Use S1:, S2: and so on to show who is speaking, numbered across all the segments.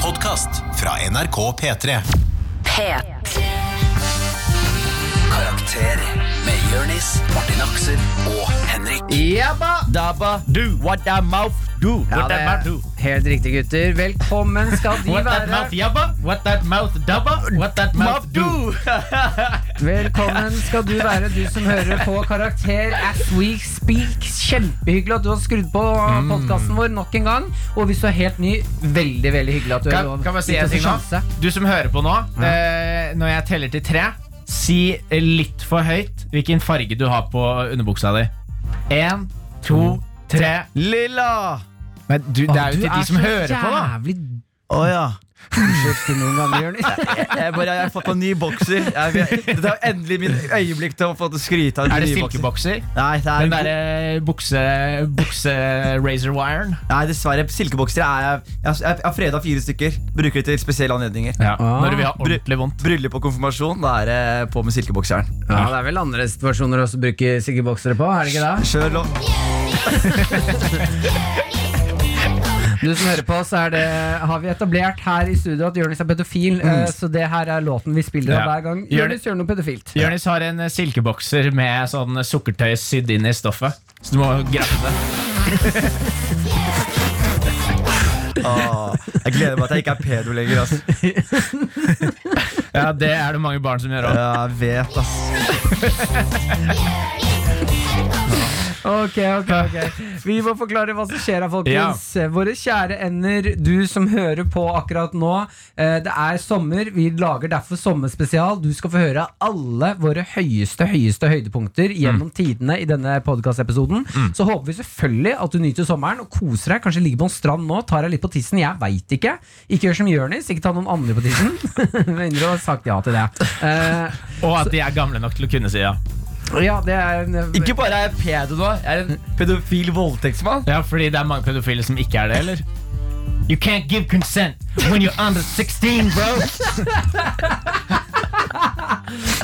S1: podkast fra NRK P3.
S2: P3.
S3: Karakter med Jørnis, Martin Aksel og Henrik.
S4: Jabba!
S5: Dabba, do what that mouth do. What
S4: Ja, det
S5: that mouth
S4: er
S5: do.
S4: helt riktig, gutter. Velkommen skal de
S5: What that mouth
S4: være.
S5: yabba, what that mouth dabba, what that mouth do.
S4: Velkommen skal du være, du som hører på Karakter as we speak. Kjempehyggelig at du har skrudd på
S5: Mm.
S4: podkasten vår nok en gang. Og hvis du er helt ny, veldig veldig hyggelig at du
S5: Kan, kan man si en ting nå? Du som hører på nå, eh, når jeg teller til tre, si litt for høyt hvilken farge du har på underbuksa di. Én, to, tre. Lilla! Mm. Men du, det er jo til de som hører på, da.
S4: Jævlig
S6: Å ja.
S4: dusjete noen ganger, Jonis.
S6: Jeg, bare, jeg har fått på ny bokser. Jeg, jeg, det er endelig mitt øyeblikk til å få til å skryte av de
S5: Er det
S6: nye bokserne.
S5: silkebokser?
S6: Nei, det er
S5: Den derre bukse... bukse-razor-wiren?
S6: nei, dessverre. Silkeboksere er jeg Jeg, jeg, jeg har freda fire stykker. Bruker det til spesielle anledninger.
S5: Ja,
S4: Ah.
S5: når du vil ha ordentlig vondt.
S6: Bryllup og konfirmasjon, da er det på med silkebokseren.
S4: Ja, det er vel andre situasjoner å bruke siggeboksere på, er det ikke det?
S6: Kjør lov.
S4: Du som hører på, så er det, har vi etablert her i studio at Jonis er pedofil. eh, Så det her er låten vi spiller av
S5: Mm. Ja.
S4: hver gang.
S5: Gjør
S4: Jonis gjør noe pedofilt.
S5: Jonis har en eh, silkebokser med sånn sukkertøy sydd inn i stoffet. Så du må graffe det.
S6: Åh, jeg gleder meg til jeg ikke er pedo lenger. Ass.
S5: Ja, Det er det mange barn som gjør òg.
S6: Jeg vet, ass.
S4: Ok, ok, ok Vi må forklare hva som skjer her, folkens. Våre kjære ender, du som hører på akkurat nå. eh, Det er sommer, vi lager derfor sommerspesial. Du skal få høre alle våre høyeste høyeste høydepunkter gjennom tidene i denne podkastepisoden. Så håper vi selvfølgelig at du nyter sommeren og koser deg. Kanskje ligger på en strand nå, tar deg litt på tissen. Jeg veit ikke. Ikke gjør som Jonis, ikke ta noen andre på tissen. Med mindre du har sagt ja til det. Eh,
S5: Og at de er gamle nok til å kunne si ja.
S4: ja, det er
S6: Ikke bare er jeg pedo nå, jeg er en pedofil voldtektsmann.
S5: Ja, Fordi det er mange pedofile som ikke er det, eller? You can't give consent when you're under 16, bro!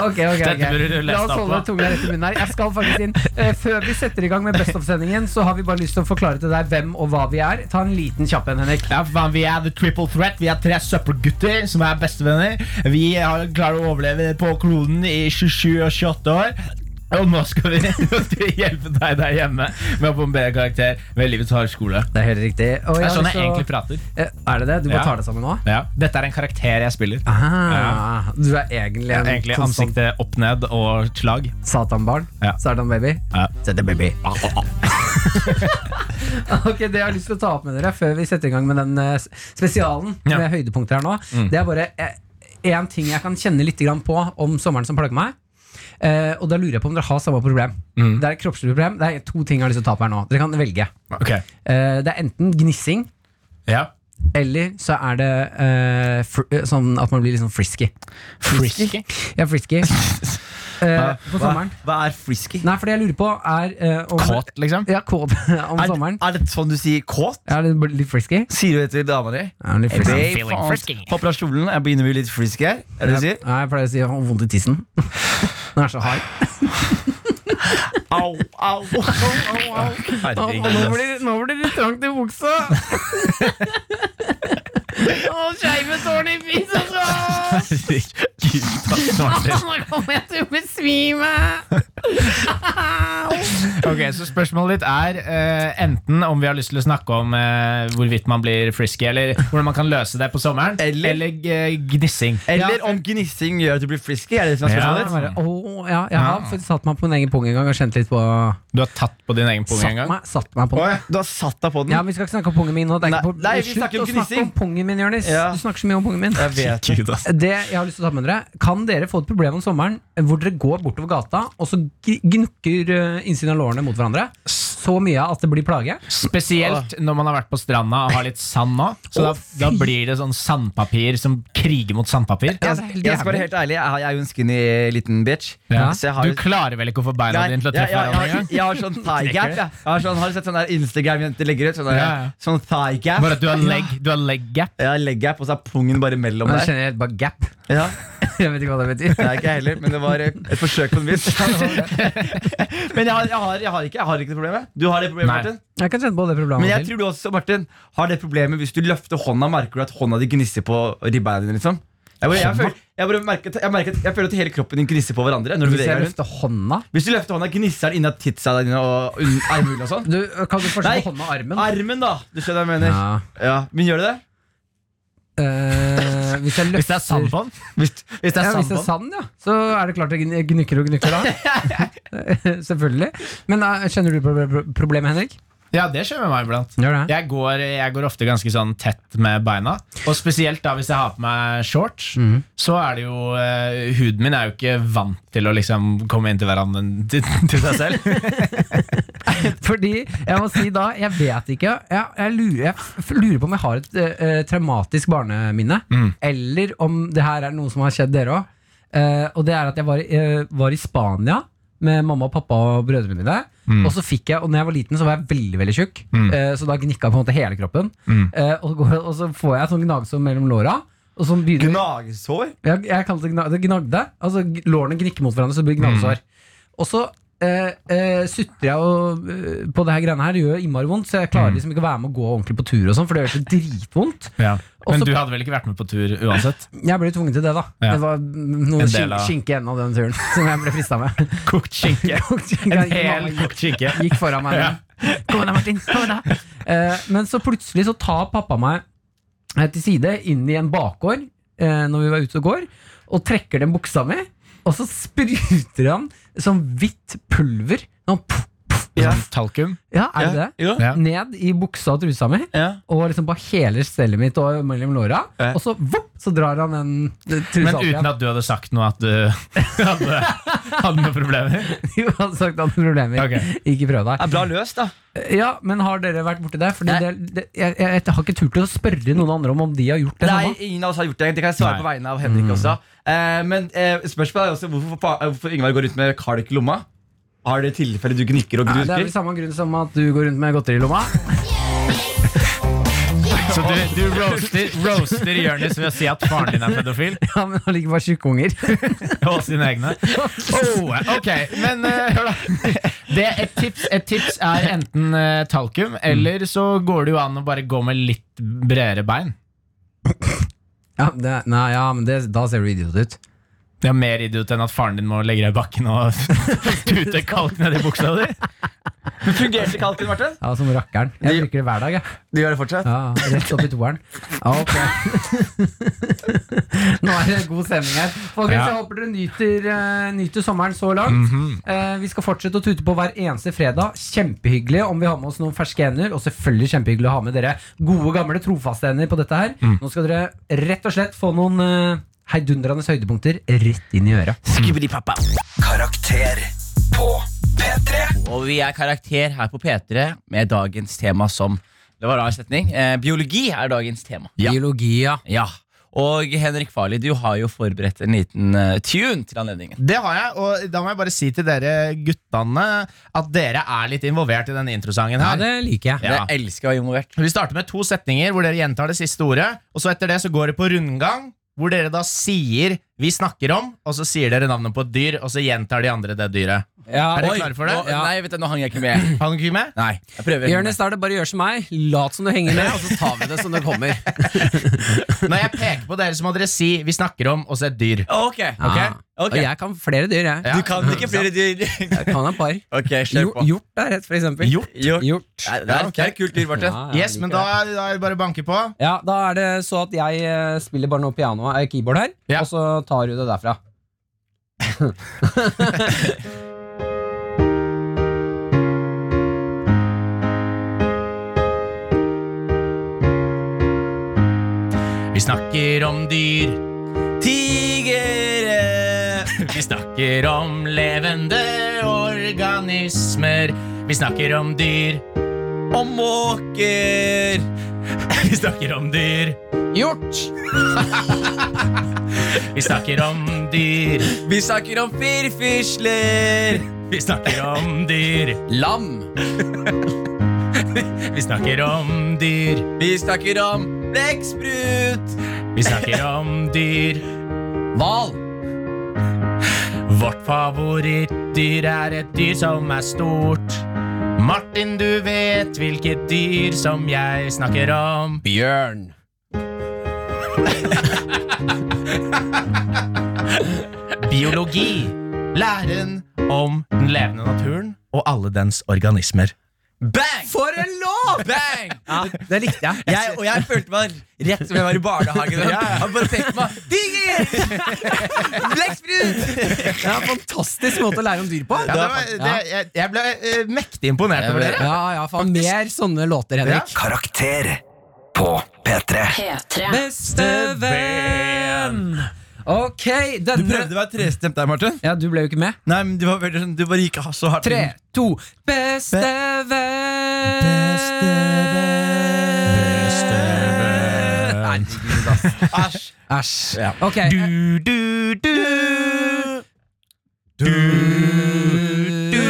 S4: Ok, ok,
S5: Dette burde
S4: ok
S5: du lest
S4: La oss
S5: opp,
S4: holde
S5: da.
S4: tunga rett i munnen her. Jeg skal faktisk inn Eh, Før vi setter i gang med Best of-sendingen, så har vi bare lyst til å forklare til deg hvem og hva vi er. Ta en liten kjapp en, Henrik.
S5: Ja, faen, Vi er the triple threat. Vi er tre søppelgutter som er bestevenner. Vi har klarer å overleve på kloden i 27 og 28 år. Og nå skal vi nå skal vi hjelpe deg der hjemme med å få en bedre karakter ved livets harde skole.
S4: Det er helt riktig. Og
S5: Det
S4: jeg
S5: er sånn
S4: har lyst
S5: jeg
S4: til å-
S5: egentlig prater.
S4: Eh, Er det det? Du bare
S5: Ja.
S4: tar det sammen nå?
S5: Ja. Dette er en karakter jeg spiller.
S4: Ah, Du er egentlig en
S5: Egentlig
S4: konstant
S5: ansiktet opp ned og slag.
S4: satanbarn?
S5: Ja.
S4: Satan-baby?
S5: Ja.
S4: Ok, Det jeg har lyst til å ta opp med dere før vi setter i gang med den eh, s- spesialen
S5: Ja.
S4: med høydepunkter her nå,
S6: Mm.
S4: det er bare én ting jeg kan kjenne litt grann på om sommeren som plager meg. Eh, og da lurer jeg på om dere har samme problem.
S6: Mm.
S4: Det er et kroppslig problem. Det er to ting jeg har lyst til å ta opp her nå. Dere kan velge.
S5: Ok
S4: Eh, det er enten gnissing,
S5: ja.
S4: eller så er det eh, fr eh, sånn at man blir liksom frisky.
S5: Frisky?
S4: Ja, frisky. Eh, på
S6: Hva,
S4: sommeren.
S6: hva er frisky?
S4: Nei, for det jeg lurer på, er eh, om
S5: Kåt, liksom?
S4: Ja, kåt om
S6: Er,
S4: sommeren.
S6: er det sånn du sier kåt?
S4: Ja, det blir litt frisky.
S6: Sier du det til dama di?
S4: Ja, litt frisky.
S6: Hey,
S5: feeling
S6: faen,
S5: frisky.
S6: Popper av kjolen, jeg begynner å bli litt frisky her. Er det det du sier?
S4: Nei, jeg pleier å si jeg har vondt i tissen. Den er så hard.
S6: Au, au, au, au, au.
S5: Herregud.
S4: blir, det trangt i buksa! Å, skeive tårn i fisa, så!
S5: Herregud.
S4: Nå kommer jeg til å besvime!
S5: Ok, Så spørsmålet ditt er eh, enten om vi har lyst til å snakke om eh, hvorvidt man blir frisky, eller hvordan man kan løse det på sommeren,
S6: Eller-
S5: eller eh, gnissing.
S6: Eller om gnissing gjør at du blir frisky? Er det det som er
S5: Ja.
S6: spørsmålet?
S4: Bare, å, ja, jeg har faktisk satt meg på min egen pung en gang og kjent litt på
S5: Du har tatt på din egen pung
S4: Satt
S5: en gang?
S4: meg, satt meg på den.
S6: Du har satt deg på den?
S4: Ja, men Vi skal ikke snakke om pungen min nå. Det er
S6: Nei,
S4: ikke på,
S6: nei, vi
S4: Slutt
S6: snakker om
S4: å snakke om
S6: gnissing.
S4: pungen min, Jonis.
S6: Ja.
S4: Du snakker så mye om pungen min.
S6: Jeg vet det.
S5: Gud, ass.
S4: Det jeg har lyst til å ta med dere Kan dere få et problem om sommeren hvor dere går bortover gata og så gn- gnukker eh, innsiden av lårene mot hverandre? Så mye at det blir plage?
S5: Spesielt når man har vært på stranda og har litt sand nå. Så da,
S4: Å, fy.
S5: da blir det sånn sandpapir som kriger mot sandpapir.
S4: Ja,
S6: Jeg,
S4: det er
S6: jeg
S4: helt
S6: skal være
S4: jævlig.
S6: helt ærlig, jeg, har- jeg er jo en skinny eh, liten bitch.
S5: Ja.
S6: Så jeg har
S5: Du klarer vel ikke å få beina dine til å
S6: jeg,
S5: treffe
S6: jeg,
S5: hverandre
S6: jeg,
S5: engang?
S6: jeg har sånn thigh gap. Jeg. Jeg har, sånn, har du sett sånn der Instagram-jenter legger ut? Sånn, der,
S5: Ja, ja.
S6: sånn thigh gap.
S5: Bare at du har leg, du har leg gap.
S6: Jeg har leg gap, og så er pungen bare mellom
S4: Men
S6: der.
S4: jeg kjenner helt bare gap.
S6: Ja.
S4: Jeg vet ikke hva det betyr.
S6: Det er ikke jeg heller, men det var eh, et forsøk på en vits. men jeg har, jeg, har, jeg, har ikke, jeg har ikke det problemet. Du har det problemet,
S5: Nei.
S6: Martin.
S4: Jeg kan kjenne på det
S6: Men jeg
S4: problemet til.
S6: tror du også Martin, har det problemet hvis du løfter hånda, merker du at hånda di gnisser på ribbeina dine. liksom jeg, bare, jeg, føler, jeg, bare merker, at- jeg, merker, at- jeg føler at hele kroppen din gnisser på hverandre. Når du
S4: Hvis
S6: beveger
S4: jeg
S6: deg rundt
S4: løfter hånda
S6: Hvis du løfter hånda, gnisser den inni titsa dine og un- armhulene og sånn.
S4: du, Kan du forskjell
S6: Nei.
S4: på hånda og armen?
S6: Armen, da! Du skjønner hva jeg mener.
S4: Ja.
S6: Ja. Men gjør du det?
S4: Eh, hvis jeg løfter
S5: Hvis det er sand på den.
S6: Hvis, hvis det
S4: ja,
S6: er
S4: hvis
S6: sand på
S4: det er
S6: den.
S4: sand, ja, så er det klart det gn- gnukker og gnukker da. Eh, Selvfølgelig. Men eh, kjenner du proble- pro- problemet, Henrik?
S5: Ja, det skjer med meg iblant.
S4: Gjør det?
S5: Jeg går, jeg går ofte ganske sånn tett med beina. Og spesielt da hvis jeg har på meg shorts,
S4: Mhm.
S5: så er det jo eh, Huden min er jo ikke vant til å liksom komme inn til hverandre til, til seg selv.
S4: Fordi, jeg må si da, jeg vet ikke Jeg, jeg, lurer, jeg f- lurer på om jeg har et eh, traumatisk barneminne Eller om det her er noe som har skjedd dere også Eh, Og det er at jeg var, i- eh, var i Spania Med mamma og pappa og brødrene mine Og så fikk jeg, og når jeg var liten så var jeg veldig, veldig tjukk Eh, Så da gnikket på en måte hele kroppen Eh, og, går, og så får jeg sånn gnagsår mellom låra Og så begynner
S6: Gnagsår?
S4: jeg, jeg kalte det, gna- det gnagde. Altså, g- lårene gnikker mot hverandre, så det blir gnagsår.
S5: Mm.
S4: Og så eh, eh, sutrer jeg og, eh, på det her greiene her. Det gjør innmari vondt, så jeg
S5: Mm.
S4: klarer liksom ikke å være med og gå ordentlig på tur, og sånn, for det gjør så dritvondt. Og
S5: Men
S4: så-
S5: du hadde vel ikke vært med på tur uansett?
S4: Jeg ble tvunget til det, da.
S5: Ja.
S4: Det var mm, noe
S5: En
S4: skin-
S5: del av-
S4: skinke igjen av den turen som jeg ble frista med.
S5: Kokt skinke. En hel
S4: Mamma
S5: kokt skinke.
S4: gikk foran meg. med, Kom da, Martin. Kom da. Eh, men så plutselig så tar pappa meg eh, til side inn i en bakgård eh, når vi var ute og går, og trekker den buksa mi, og så spruter han sånn hvitt pulver sånn, puff,
S6: Ja.
S5: Talkum.
S4: Ja, er det det?
S6: Jo.
S5: Ja.
S4: Ned i buksa og trusa mi.
S6: Ja.
S4: Og liksom på hele stellet mitt og mellom låra.
S6: Ja.
S4: Og så vopp, så drar han den eh, trusa
S5: Men
S4: opp
S5: uten
S4: igjen.
S5: at du hadde sagt noe at du hadde, hadde noen problemer?
S4: Jo, han hadde sagt han hadde problemer.
S5: Ok.
S4: Ikke prøv deg.
S6: Det er bra løst, da.
S4: Ja, men har dere vært borti det? Fordi det, det jeg, jeg, jeg har ikke turt til å spørre noen andre om om de har gjort det
S6: Nei,
S4: samme.
S6: ingen av oss har gjort det. Det kan jeg svare
S5: Nei.
S6: på vegne av Henrik også. Eh, men eh, spørsmålet er også hvorfor, pa- eh, hvorfor Ingvar går rundt med kalk i lomma. Har det tilfelle du gnikker og
S4: Nei, det er liksom-
S6: grusker?
S4: vel samme grunn som at du går rundt med godteri i lomma.
S5: Så du, du roaster, roaster Jonis ved å si at faren din er pedofil?
S4: Ja, men han liker bare tjukkunger.
S5: Og sine egne. Oh, ok, men eh, hør da. Det, et, tips, et tips er enten eh, talkum, eller
S2: Mm.
S5: så går det jo an å bare gå med litt bredere bein.
S4: Ja, det, nei, ja, men det, da ser du idiot ut.
S5: Det er mer idiot enn at faren din må legge deg i bakken og tute kalk ned i buksa di.
S6: Men Fungerte kalken, Martin?
S4: Ja, Som rakkeren. Jeg bruker det hver dag. Jeg.
S6: Du gjør det fortsatt?
S4: Ja, rett opp i toeren. Ja, ok. Nå er det god stemning her.
S5: Ja. Mhm.
S4: Folkens, Jeg håper dere nyter, eh, nyter sommeren så langt. Eh, vi skal fortsette å tute på hver eneste fredag. Kjempehyggelig om vi har med oss noen ferske ender. Og selvfølgelig kjempehyggelig å ha med dere gode, gamle, trofaste ender på dette her.
S5: Mm.
S4: Nå skal dere rett og slett få noen eh, heidundrende høydepunkter rett inn i øret.
S3: Karakter på P3.
S2: Og vi er karakter her på P3 med dagens tema som Det var en rar setning. Eh, biologi er dagens tema.
S4: Biologi, ja.
S2: Ja. Og Henrik Farli, du har jo forberedt en liten eh, tune til anledningen.
S5: Det har jeg, og da må jeg bare si til dere guttene at dere er litt involvert i denne introsangen
S4: Ja,
S5: her.
S4: det liker jeg.
S5: Ja.
S2: Jeg elsker å være involvert.
S5: Vi starter med to setninger hvor dere gjentar det siste ordet, og så etter det så går det på rundgang, hvor dere da sier 'vi snakker om', og så sier dere navnet på et dyr, og så gjentar de andre det dyret. Er dere klare for det?
S2: Nå, Nei, vet du, nå hang jeg ikke med.
S5: Har dere ikke med?
S2: Nei, jeg prøver.
S4: Jonis, da er det bare å gjøre som meg. Lat som du henger med, og så tar vi det som det kommer.
S5: Når jeg peker på dere, så må dere si 'vi snakker om', og så et dyr.
S2: Ok, ok,
S4: Ja. Og
S2: ok.
S4: jeg kan flere dyr, jeg.
S5: Ja.
S2: Du kan ikke flere dyr.
S4: Jeg kan et par.
S2: ok, kjør
S4: Jo,
S2: på.
S4: hjort er rett, for eksempel.
S2: Hjort? Hjort.
S4: Hjort.
S2: Nei, Det er, det er et kult dyr, Martin.
S4: Ja, jeg
S5: Yes, men
S4: liker det.
S5: da, da er det bare å banke på.
S4: ja, da er det så at jeg eh, spiller bare noe piano, eh, keyboard her,
S5: Ja.
S4: og så tar du det derfra.
S5: Vi snakker om dyr. Tigere. Vi snakker om levende organismer. Vi snakker om dyr. Om måker. Vi snakker om dyr.
S4: Hjort!
S5: Vi snakker om dyr.
S2: Vi snakker om firfisler.
S5: Vi snakker om dyr.
S2: Lam.
S5: Vi snakker om dyr.
S2: Vi snakker om blekksprut.
S5: Vi snakker om dyr.
S2: Hval.
S5: Vårt favorittdyr er et dyr som er stort. Martin, du vet hvilket dyr som jeg snakker om.
S7: Bjørn.
S5: Biologi. Læren om den levende naturen og alle dens organismer.
S7: Bang!
S4: For en låt!
S7: Bang!
S4: Det likte jeg.
S7: Jeg, og jeg følte meg rett som jeg var i barnehagen. Jeg bare tenkte meg Diger! Blekksprut!
S4: Det er en fantastisk måte å lære om dyr på.
S5: Ja, det var, det, jeg, jeg ble eh, mektig imponert over dere.
S4: Ja, ja, faen. Mer sånne låter, Henrik.
S3: Karakter på P3.
S8: P3.
S4: Beste venn! Ok,
S6: Du
S4: denne
S6: prøvde å være trestemt der, Martin.
S4: Ja, du ble jo ikke med.
S6: Nei, men du, var veldig, sånn- du bare gikk så hardt
S4: Tre,
S6: inn.
S4: to Bestevenn! Bestevenn Æsj. Æsj. Ok. Du, du, du. Du, du, du.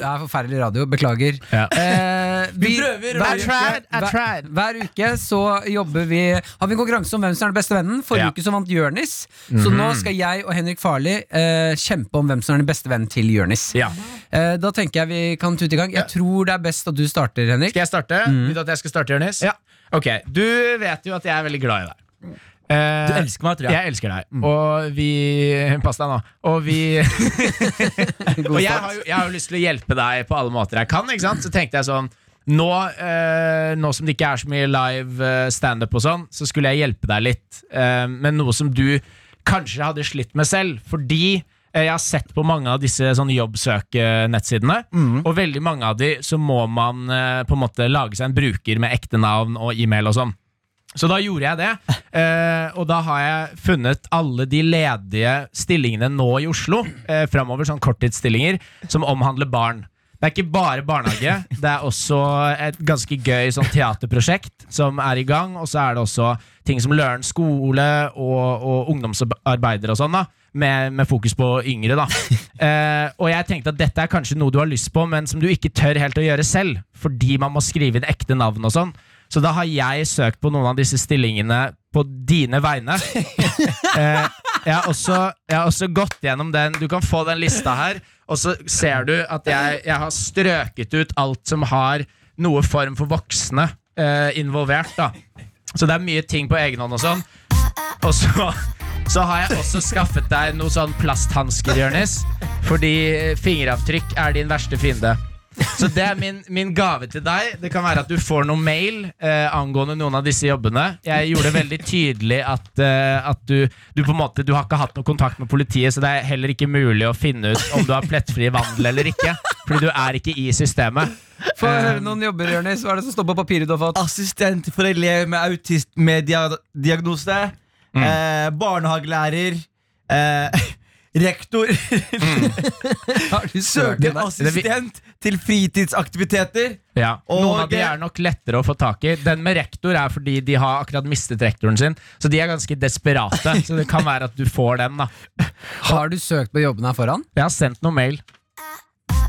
S4: Det er forferdelig radio. Beklager. Eh, vi, hver,
S5: tried, I
S4: hver-
S5: tried.
S4: hver uke så jobber vi Har vi en konkurranse om hvem som er den beste vennen. Forrige
S5: Ja.
S4: uke så vant Jørnis. Så nå skal jeg og Henrik Farli eh, kjempe om hvem som er den beste vennen til Jørnis.
S5: Ja.
S4: Eh, da tenker jeg vi kan tute i gang. Jeg tror det er best at du starter, Henrik.
S5: Skal jeg starte? Vil du at jeg skal starte, Jonis?
S6: Ja.
S5: Ok, Du vet jo at jeg er veldig glad i deg. Eh,
S6: Du elsker meg, tror jeg.
S5: Jeg elsker deg. Og vi Pass deg nå. Og vi Og jeg har, jo, jeg har jo lyst til å hjelpe deg på alle måter jeg kan. ikke sant? Så tenkte jeg sånn Nå, eh, nå som det ikke er så mye live eh, standup og sånn, så skulle jeg hjelpe deg litt. Eh, men noe som du kanskje hadde slitt med selv. Fordi eh, jeg har sett på mange av disse sånn jobbsøk-nettsidene. Og veldig mange av de så må man eh, på en måte lage seg en bruker med ekte navn og e-mail og sånn. Så da gjorde jeg det, eh, og da har jeg funnet alle de ledige stillingene nå i Oslo, eh, framover, sånn korttidsstillinger, som omhandler barn. Det er ikke bare barnehage, det er også et ganske gøy sånn teaterprosjekt som er i gang, og så er det også ting som Løren skole og, og ungdomsarbeidere og sånn, da. Med, med fokus på yngre, da. Eh, og jeg tenkte at dette er kanskje noe du har lyst på, men som du ikke tør helt å gjøre selv, fordi man må skrive inn ekte navn og sånn. Så da har jeg søkt på noen av disse stillingene på dine vegne. Eh, jeg, har også, jeg har også gått gjennom den. Du kan få den lista her. Og så ser du at jeg, jeg har strøket ut alt som har noe form for voksne eh, involvert. da Så det er mye ting på egen hånd og sånn. Og så, så har jeg også skaffet deg noen sånn plasthansker, Jonis. Fordi fingeravtrykk er din verste fiende. Så det er min, min gave til deg. Det kan være at du får noen mail eh, angående noen av disse jobbene. Jeg gjorde det veldig tydelig at, eh, at du, du på en måte Du har ikke hatt noe kontakt med politiet, så det er heller ikke mulig å finne ut om du har plettfri vandel eller ikke. Fordi du er ikke i systemet.
S4: Få høre noen jobber, Jørnis. Hva er det som står på papiret du har fått?
S6: Assistent for elev med autistmediagnose.
S2: Mm.
S6: Eh, barnehagelærer. Eh, rektor.
S4: Har du søkt
S6: Søker
S4: den der?
S6: assistent til fritidsaktiviteter.
S5: Ja.
S6: Og-
S5: Noen av de er nok lettere å få tak i. Den med rektor er fordi de har akkurat mistet rektoren sin, så de er ganske desperate. Så det kan være at du får den, da.
S4: Har du søkt på jobben her foran?
S5: Jeg har sendt noen mail.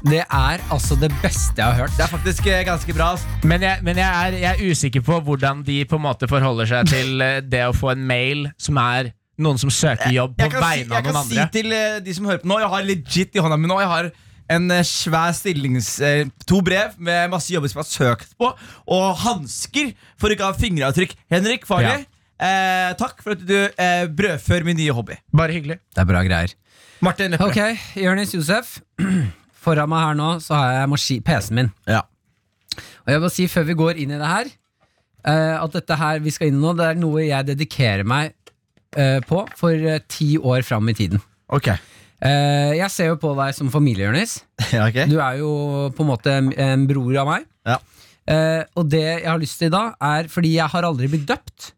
S4: Det er altså det beste jeg har hørt.
S6: Det er faktisk eh, ganske bra. ass.
S5: Men, jeg, men jeg, er, jeg er usikker på hvordan de på en måte forholder seg til eh, det å få en mail som er noen som søker jobb på
S6: Jeg kan, si,
S5: vegne
S6: jeg
S5: av
S6: kan
S5: noen
S6: si
S5: andre.
S6: til eh, de som hører på nå, jeg har legit i hånda mi nå. Jeg har en eh, svær stillings... eh, to brev med masse jobber som jeg har søkt på, og hansker for ikke å ha fingeravtrykk. Henrik Farley, eh, takk for at du eh, brødfør min nye hobby.
S5: Bare hyggelig.
S4: Det er bra greier.
S6: Martin Lepperød.
S4: Ok, Jonis Josef. Foran meg her nå så har jeg maski- PC-en min.
S6: Ja.
S4: Og jeg må si før vi går inn i det her, eh, at dette her vi skal inn i nå, det er noe jeg dedikerer meg eh, på for eh, ti år fram i tiden.
S6: Ok.
S4: Eh, jeg ser jo på deg som familie, Jonis.
S6: Ja, ok.
S4: Du er jo på en måte en- en bror av meg.
S6: Ja.
S4: Eh, og det jeg har lyst til da, er fordi jeg har aldri blitt døpt.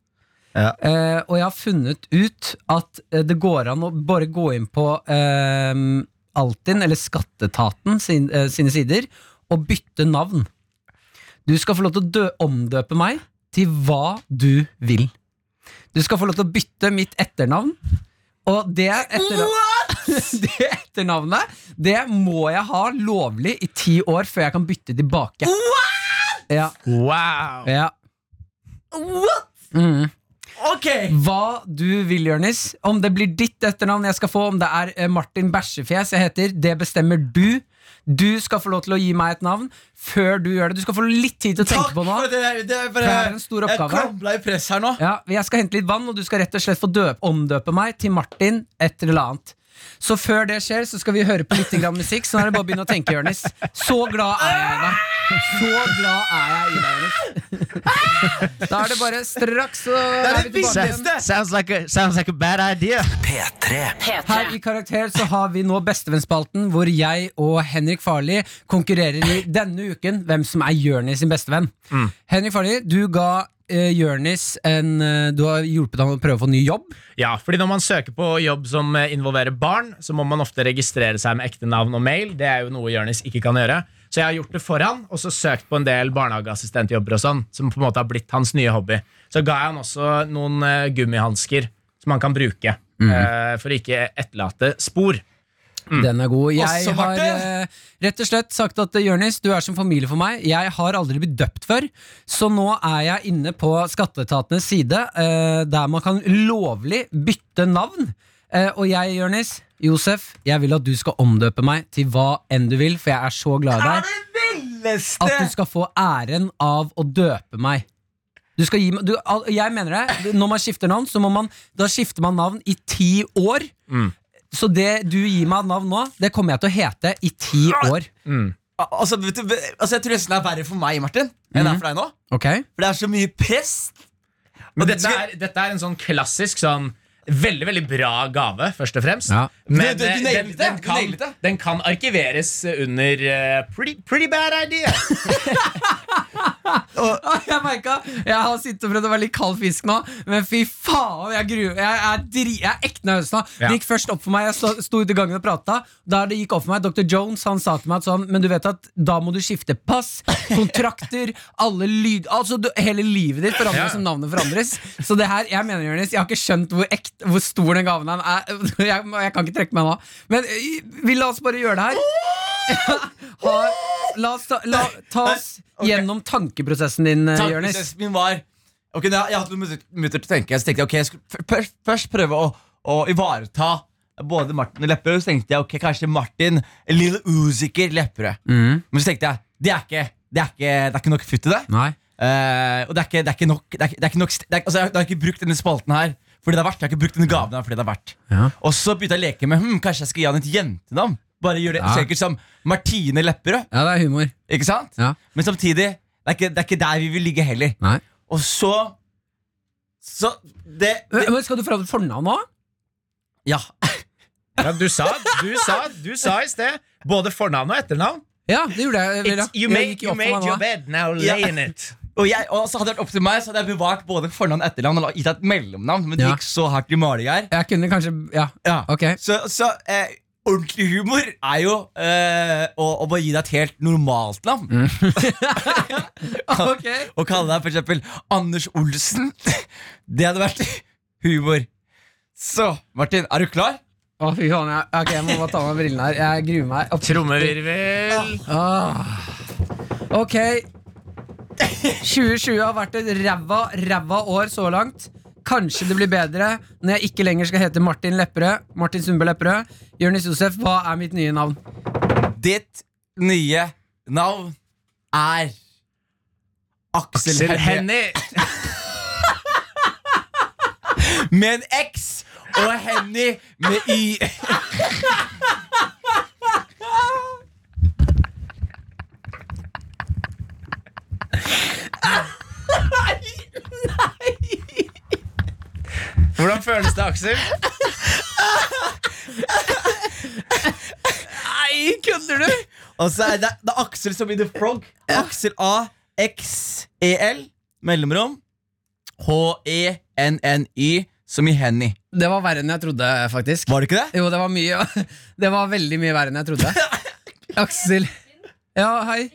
S6: Ja.
S4: Eh, og jeg har funnet ut at eh, det går an å bare gå inn på eh, Altinn, eller Skatteetaten sin, eh, sine sider, og bytte navn. Du skal få lov til å dø omdøpe meg til hva du vil. Du skal få lov til å bytte mitt etternavn. Og det etternavnet, det etternavnet Det må jeg ha lovlig i ti år før jeg kan bytte tilbake. What? Ja,
S5: Wow!
S4: ja. Mm.
S6: Ok!
S4: hva du vil, Jonis. Om det blir ditt etternavn jeg skal få, om det er eh, Martin Bæsjefjes jeg heter, det bestemmer du. Du skal få lov til å gi meg et navn før du gjør det. Du skal få litt tid til å
S6: Takk
S4: tenke på nå.
S6: for det. det, er bare-
S4: Det er en stor
S6: jeg
S4: oppgave.
S6: krabla i press her nå.
S4: Ja, jeg skal hente litt vann, og du skal rett og slett få døp, omdøpe meg til Martin et eller annet. Så før det skjer, så skal vi høre på litt grann musikk. Så nå er det bare å begynne å tenke, Jonis. Så glad er jeg i deg. Så glad er jeg i deg, Jonis.
S6: Ah!
S4: Da er det bare straks så er vi tilbake. igjen.
S5: Sounds like, a, sounds like a bad idea.
S3: P3.
S4: Her i Karakter så har vi nå Bestevennspalten, hvor jeg og Henrik Farli konkurrerer i denne uken hvem som er Jørnis sin bestevenn. Henrik Farli, du ga uh, Jørnis en eh, Du har hjulpet ham å prøve å få ny jobb.
S5: Ja, fordi Når man søker på jobb som eh, involverer barn, så må man ofte registrere seg med ekte navn og mail. Det er jo noe Jonis ikke kan gjøre. Så jeg har gjort det for han, og så søkt på en del barnehageassistentjobber og sånn, som på en måte har blitt hans nye hobby. Så ga jeg han også noen uh, gummihansker som han kan bruke
S6: Mm.
S5: eh, for å ikke etterlate spor.
S4: Den er god. Jeg
S6: Også,
S4: har
S6: Marte.
S4: eh, rett og slett sagt at eh, Jørnis, du er som familie for meg. Jeg har aldri blitt døpt før, så nå er jeg inne på skatteetatenes side, eh, der man kan lovlig bytte navn. Eh, og jeg, Jørnis, Josef, jeg vil at du skal omdøpe meg til hva enn du vil, for jeg er så glad i deg. At du skal få æren av å døpe meg. Du skal gi meg du, al- Jeg mener det. Når man skifter navn, så må man Da skifter man navn i ti år.
S6: Mm.
S4: Så det du gir meg av navn nå, det kommer jeg til å hete i ti år.
S6: Al- Altså, vet du, altså, Jeg tror nesten det er verre for meg, Martin, enn det er for deg nå.
S4: Ok?
S6: For det er så mye press.
S5: Men
S6: Og
S5: dette
S6: skal-
S5: er, dette er en sånn klassisk sånn Veldig veldig bra gave, først og fremst.
S4: Ja.
S5: Men
S6: Du- du- du
S5: eh, den,
S6: nailet det,
S5: den,
S6: du
S5: kan,
S6: nailet det.
S5: den kan arkiveres under eh, pretty, pretty bad idea.
S4: Ah, Jeg merka Jeg har sittet og prøvd å være litt kald fisk nå, men fy faen, jeg gruer Jeg er, dri, jeg er ekte nervøs nå.
S5: Ja.
S4: Det gikk først opp for meg, jeg sto, sto ute i gangen og prata. Da det gikk opp for meg, Dr. Jones han sa til meg at sånn Men du vet at da må du skifte pass, kontrakter, alle lyd Altså du, hele livet ditt forandres
S5: Ja.
S4: som navnet forandres. Så det her, jeg mener, Jonis, jeg har ikke skjønt hvor ekte Hvor stor den gaven her er. Jeg, jeg kan ikke trekke meg nå. Men eh, vi la oss bare gjøre det her. Ha, la oss ta, la, ta oss gjennom tankeprosessen din, eh, Jonis.
S6: Tankeprosessen min var Ok, nå, har Jeg har hatt noen minutter, minutter til å tenke. Så tenkte jeg, ok, jeg skulle f- først- først prøve å, å ivareta både Martin og Lepperød. Så tenkte jeg ok, kanskje Martin Lille Usiker Lepperød.
S4: Mm.
S6: Men så tenkte jeg det er ikke, det er ikke, det er ikke nok futt i det.
S4: Nei.
S6: Eh, og det er ikke, det er ikke nok, det er ikke, det er ikke nok st- det er, altså, jeg, har- jeg har ikke brukt denne spalten her fordi det er verdt. Jeg har ikke brukt denne gaven her fordi det er verdt.
S4: Ja.
S6: Og så begynte jeg å leke med hm, kanskje jeg skal gi han et jentenavn. Bare gjør det
S4: Ja.
S6: sikkert som Martine Lepperød.
S4: Ja, det er humor.
S6: Ikke sant?
S4: Ja.
S6: Men samtidig, det er, ikke, det er ikke der vi vil ligge heller.
S4: Nei.
S6: Og så Så det, det
S4: Men skal du forandre fornavn nå?
S6: Ja.
S5: Ja, du sa, du sa, du sa i sted både fornavn og etternavn.
S4: Ja, det gjorde jeg. Eller,
S5: It's, you
S4: jeg
S5: made,
S4: gikk jo
S5: you
S4: opp for
S5: made
S4: meg
S5: your
S4: nå.
S5: bed, now lay in it.
S6: Og, jeg, og så hadde det vært opp til meg, så hadde jeg bevart både fornavn og etternavn og la- gitt deg et mellomnavn, men det
S4: Ja.
S6: gikk så hardt i maling her.
S4: Jeg kunne kanskje Ja,
S6: Ja.
S4: ok.
S6: Så, så eh, ordentlig humor er jo eh, å, å bare gi deg et helt normalt navn.
S4: Ok
S6: Å kalle deg for eksempel Anders Olsen. Det hadde vært humor. Så, Martin, er du klar?
S4: Å, fy faen. Jeg, ok, jeg må bare ta av meg brillene her. Jeg gruer meg. Opp.
S5: Trommevirvel.
S4: Ah. Ok. 2020 har vært et ræva, ræva år så langt. Kanskje det blir bedre når jeg ikke lenger skal hete Martin Lepperød. Martin Sundbø Lepperød. Jonis Josef, hva er mitt nye navn?
S6: Ditt nye navn er Aksel,
S5: Til
S6: Hennie.
S5: Henny.
S6: Med en X og Henny med Y.
S5: Hvordan føles det, Aksel?
S4: Nei, kødder du?!
S6: Og så er det, det er Aksel som i The Frog. Aksel A, X, E, L, mellomrom. E H-E-N-N-Y, som i Henny.
S4: Det var verre enn jeg trodde, faktisk.
S6: Var det ikke det?
S4: Jo, det var mye Det var veldig mye verre enn jeg trodde. Aksel. Ja, hei.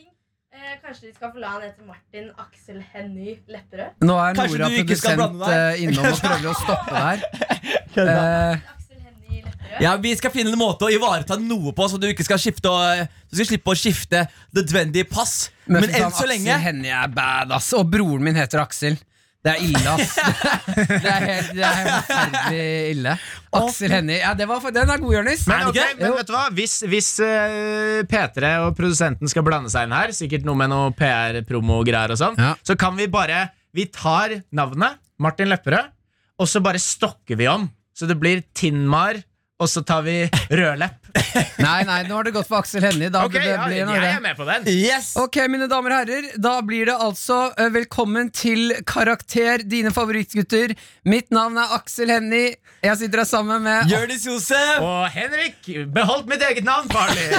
S8: Eh, Kanskje de skal få la han hete Martin Aksel Henny Lepperød?
S4: Nå er
S6: Kanskje
S4: Nora
S6: du ikke skal
S4: produsent
S6: blande deg?
S4: eh, innom og prøver å stoppe det her. Eh,
S8: Aksel Henny Lepperød?
S6: Ja, Vi skal finne en måte å ivareta noe på, så du ikke skal skifte og, eh, du skal slippe å skifte nødvendig pass. Men
S4: fy faen,
S6: enn så lenge
S4: Aksel Hennie er bad, ass. Og broren min heter Aksel. Det er ille, ass. Det er helt, det er helt forferdelig ille. Aksel Hennie. Ja, det var, for- den er god, Jonis.
S5: Men, ok, men
S4: Jo.
S5: vet du hva? Hvis, hvis eh, P3 og produsenten skal blande seg inn her, sikkert noe med noe PR-promo-greier og sånn,
S9: Ja.
S5: så kan vi bare Vi tar navnet Martin Lepperød, og så bare stokker vi om. Så det blir Tinnmar, og så tar vi Rødlepp.
S4: Nei, nei, nå har det gått for Aksel Hennie. Da
S5: Ok,
S4: burde det
S5: ja,
S4: bli en
S5: jeg
S4: annen.
S5: er med på den.
S6: Yes!
S4: Ok, mine damer og herrer, da blir det altså eh, velkommen til Karakter, dine favorittgutter. Mitt navn er Aksel Hennie. Jeg sitter her sammen med
S6: Jonis Josef!
S5: Og Henrik, beholdt mitt eget navn, farlig!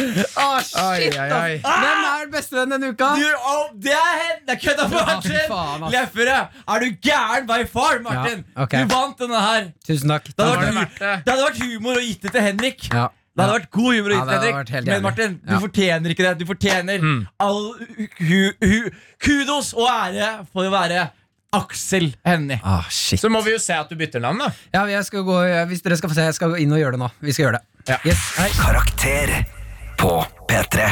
S4: Å, shit,
S5: Oi, oi,
S4: ass.
S5: oi.
S4: Hvem er bestevenn denne uka?
S6: Du, oh, det er hen! Det er kødda for
S4: faen,
S6: Martin!
S4: ass.
S6: Leffere! Er du gæren by far, Martin?
S4: Ja, ok.
S6: Du vant denne her.
S4: Tusen takk.
S6: Det
S4: Da
S6: hadde,
S4: var det
S6: vært, det, det hadde vært humor å gitt det til Henrik.
S4: Ja.
S6: Det hadde vært god humor å gitt
S4: Ja, det
S6: til
S4: hadde vært
S6: Henrik.
S4: helt
S6: Men
S4: jævlig.
S6: Martin, du
S4: Ja.
S6: fortjener ikke det. Du fortjener all hu, hu, kudos og ære for å være Aksel Hennie.
S4: Ah, shit.
S5: Så må vi jo se at du bytter navn, da.
S4: Ja, jeg skal gå, hvis dere skal få se, jeg skal gå inn og gjøre det nå. Vi skal gjøre det. Yes. Hei.
S10: Karakter på P3.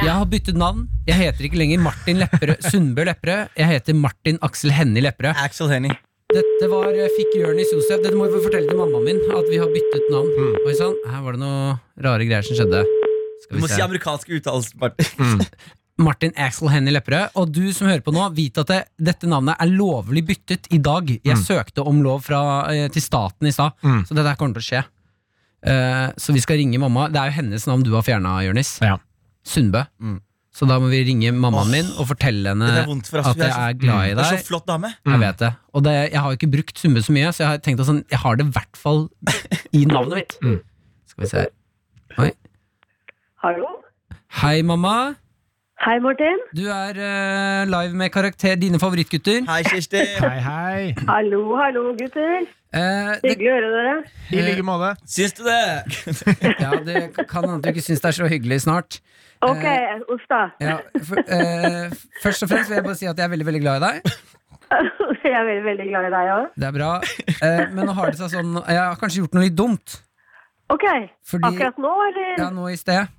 S4: Jeg har byttet navn. Jeg heter ikke lenger Martin Lepperød Sundbø Lepperød. Jeg heter Martin Aksel Hennie Lepperød.
S6: Axel Hennie.
S4: Dette var eh, Fikk Jonis Josef. Dette må jeg få fortelle til mammaen min, at vi har byttet navn. Oi sann, her var det noen rare greier som skjedde.
S6: Hmm. Du
S4: Skal
S6: må
S4: vi
S6: si
S4: se.
S6: amerikansk uttalelse, Martin.
S4: Martin Axel Hennie Lepperød. Og du som hører på nå, vit at det, dette navnet er lovlig byttet i dag. Jeg
S6: Mm.
S4: søkte om lov fra, eh, til staten i stad, så det der kommer til å skje. Eh, så vi skal ringe mamma. Det er jo hennes navn du har fjerna, Jonis.
S5: Ja.
S4: Sundbø. Så da må vi ringe mammaen min og fortelle henne
S6: Mm. Det er vondt for oss.
S4: at
S6: Vi er
S4: jeg
S6: så- Mm.
S4: er glad i
S6: Det er
S4: deg.
S6: så flott dame.
S4: Jeg vet det. Og det, jeg har jo ikke brukt Sundbø så mye, så jeg har tenkt at sånn, jeg har det i hvert fall i navnet mitt. Skal vi se her. Oi.
S11: Hallo?
S4: Hei, mamma.
S11: Hei, Martin.
S4: Du er eh, live med karakter Dine favorittgutter.
S6: Hei, Kirsti.
S5: Hei, hei.
S11: Hallo, hallo, gutter.
S4: Eh, det,
S11: Hyggelig å høre dere.
S5: I like måte.
S6: Syns du det?
S4: ja, det kan hende at du ikke syns det er så hyggelig snart.
S11: Ok, uff da.
S4: Eh, Ja, for, eh, først og fremst vil jeg bare si at jeg er veldig veldig glad i deg.
S11: Jeg er veldig, veldig glad i deg òg.
S4: Det er bra. Eh, men nå har det seg sånn Jeg har kanskje gjort noe litt dumt.
S11: Ok,
S4: Fordi-
S11: akkurat nå, eller?
S4: Ja, nå i sted.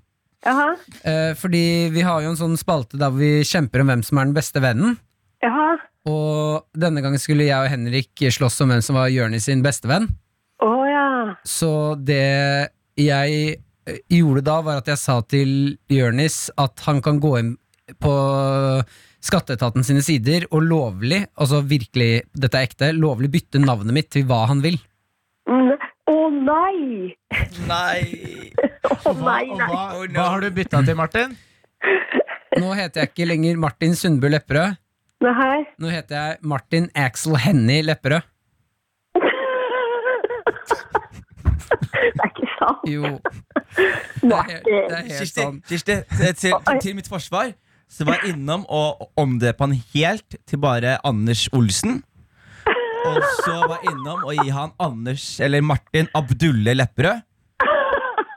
S11: Jaha.
S4: Eh, fordi vi har jo en sånn spalte der vi kjemper om hvem som er den beste vennen.
S11: Jaha.
S4: Og denne gangen skulle jeg og Henrik slåss om hvem som var Jørnis sin bestevenn.
S11: Å ja.
S4: Så det jeg eh, gjorde da, var at jeg sa til Jørnis at han kan gå inn på Skatteetaten sine sider og lovlig, altså virkelig, dette er ekte, lovlig bytte navnet mitt til hva han vil.
S11: Mm. Å nei!
S6: Nei.
S11: Å nei,
S5: Og
S11: nei.
S5: hva, hva har du bytta til, Martin?
S4: Nå heter jeg ikke lenger Martin Sundbø Lepperød.
S11: Nei, hei.
S4: Nå heter jeg Martin Axel Hennie Lepperød.
S11: Det er ikke sant.
S4: Jo, det er, helt- det er
S11: Martin.
S4: helt
S6: Kirsti,
S4: sånn.
S6: Kirsti til, til, til mitt forsvar Så var jeg innom og omdøpe han helt til bare Anders Olsen. Og så var jeg innom og gi han Anders eller Martin Abdulle Lepperød.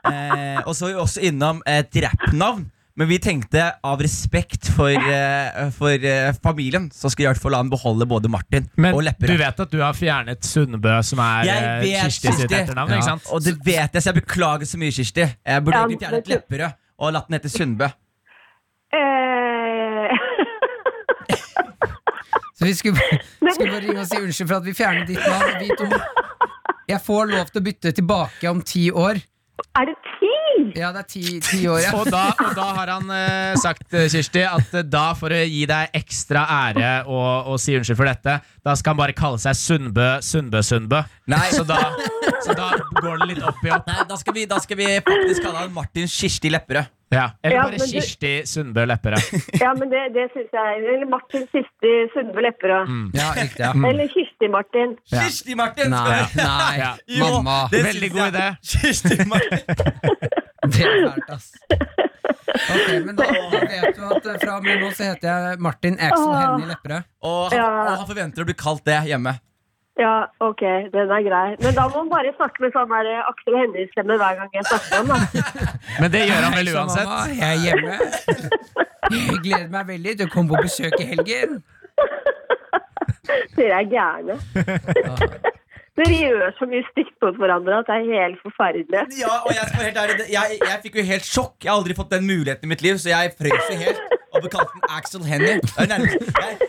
S6: Eh, og så var vi også innom et rappnavn. Men vi tenkte av respekt for, eh, for eh, familien Så skulle jeg i hvert fall la han beholde både Martin
S5: Men
S6: og
S5: du
S6: Lepperød.
S5: vet at du har fjernet Sundbø, som er
S6: Jeg
S5: eh,
S6: vet,
S5: Kirsti sitt
S6: Kirsti.
S5: etternavn?
S4: Ja.
S5: ikke sant?
S6: Og det vet jeg, så jeg beklager så mye, Kirsti. Jeg burde
S11: Ja,
S6: egentlig fjernet
S11: vet
S6: Lepperød og latt den hete Sundbø.
S11: Eh,
S4: Så vi skulle, bare- skulle bare ringe og si unnskyld for at vi fjernet ditt navn. Vi to, jeg får lov til å bytte tilbake om ti år.
S11: er det ti?
S4: Ja, det er ti, ti år, ja.
S5: Og da, og da har han eh, sagt, eh, Kirsti, at eh, da for å gi deg ekstra ære og, og si unnskyld for dette, da skal han bare kalle seg Sundbø, Sundbø, Sundbø.
S6: Nei.
S5: Så, da, så da går det litt opp i opp.
S6: Nei, da skal, vi, da skal vi faktisk kalle han Martin Kirsti Lepperød.
S5: Ja. Eller
S11: Ja,
S5: bare
S11: men du-
S5: Kirsti Sundbø Lepperød.
S11: Ja, men det, det syns jeg. Eller Martin Kirsti Sundbø Lepperød.
S4: ja riktig, ja.
S11: Eller Kirsti-Martin.
S6: Kirsti Martin!
S4: Nei,
S6: skal vi-
S4: nei,
S5: Ja.
S6: Jo,
S4: mamma.
S6: det
S5: Veldig
S6: synes
S5: god
S6: jeg.
S5: idé.
S6: Kirsti Martin.
S4: Det er fælt, ass. Ok, men da, da vet du at eh, fra og med nå så heter jeg Martin Axel Hennie Lepperød.
S6: Og han,
S11: Ja.
S6: og han forventer å bli kalt det hjemme.
S11: Ja, ok, den er grei. Men da må man bare snakke med sånn der eh, Aksel Hennie-stemme hver gang jeg snakker om da.
S5: Men det gjør han vel
S4: Så,
S5: uansett.
S4: mamma, jeg er hjemme. Jeg gleder meg veldig til å komme på besøk i helgen.
S11: Dere er gærne. Dere gjør så mye stygt mot hverandre at det er helt forferdelig.
S6: Ja, og Jeg skal være helt ærlig, det- jeg, jeg fikk jo helt sjokk. Jeg har aldri fått den muligheten i mitt liv, så jeg frøs jo helt. og ble kalt den Axel Hennie. Det er nærmest- jeg-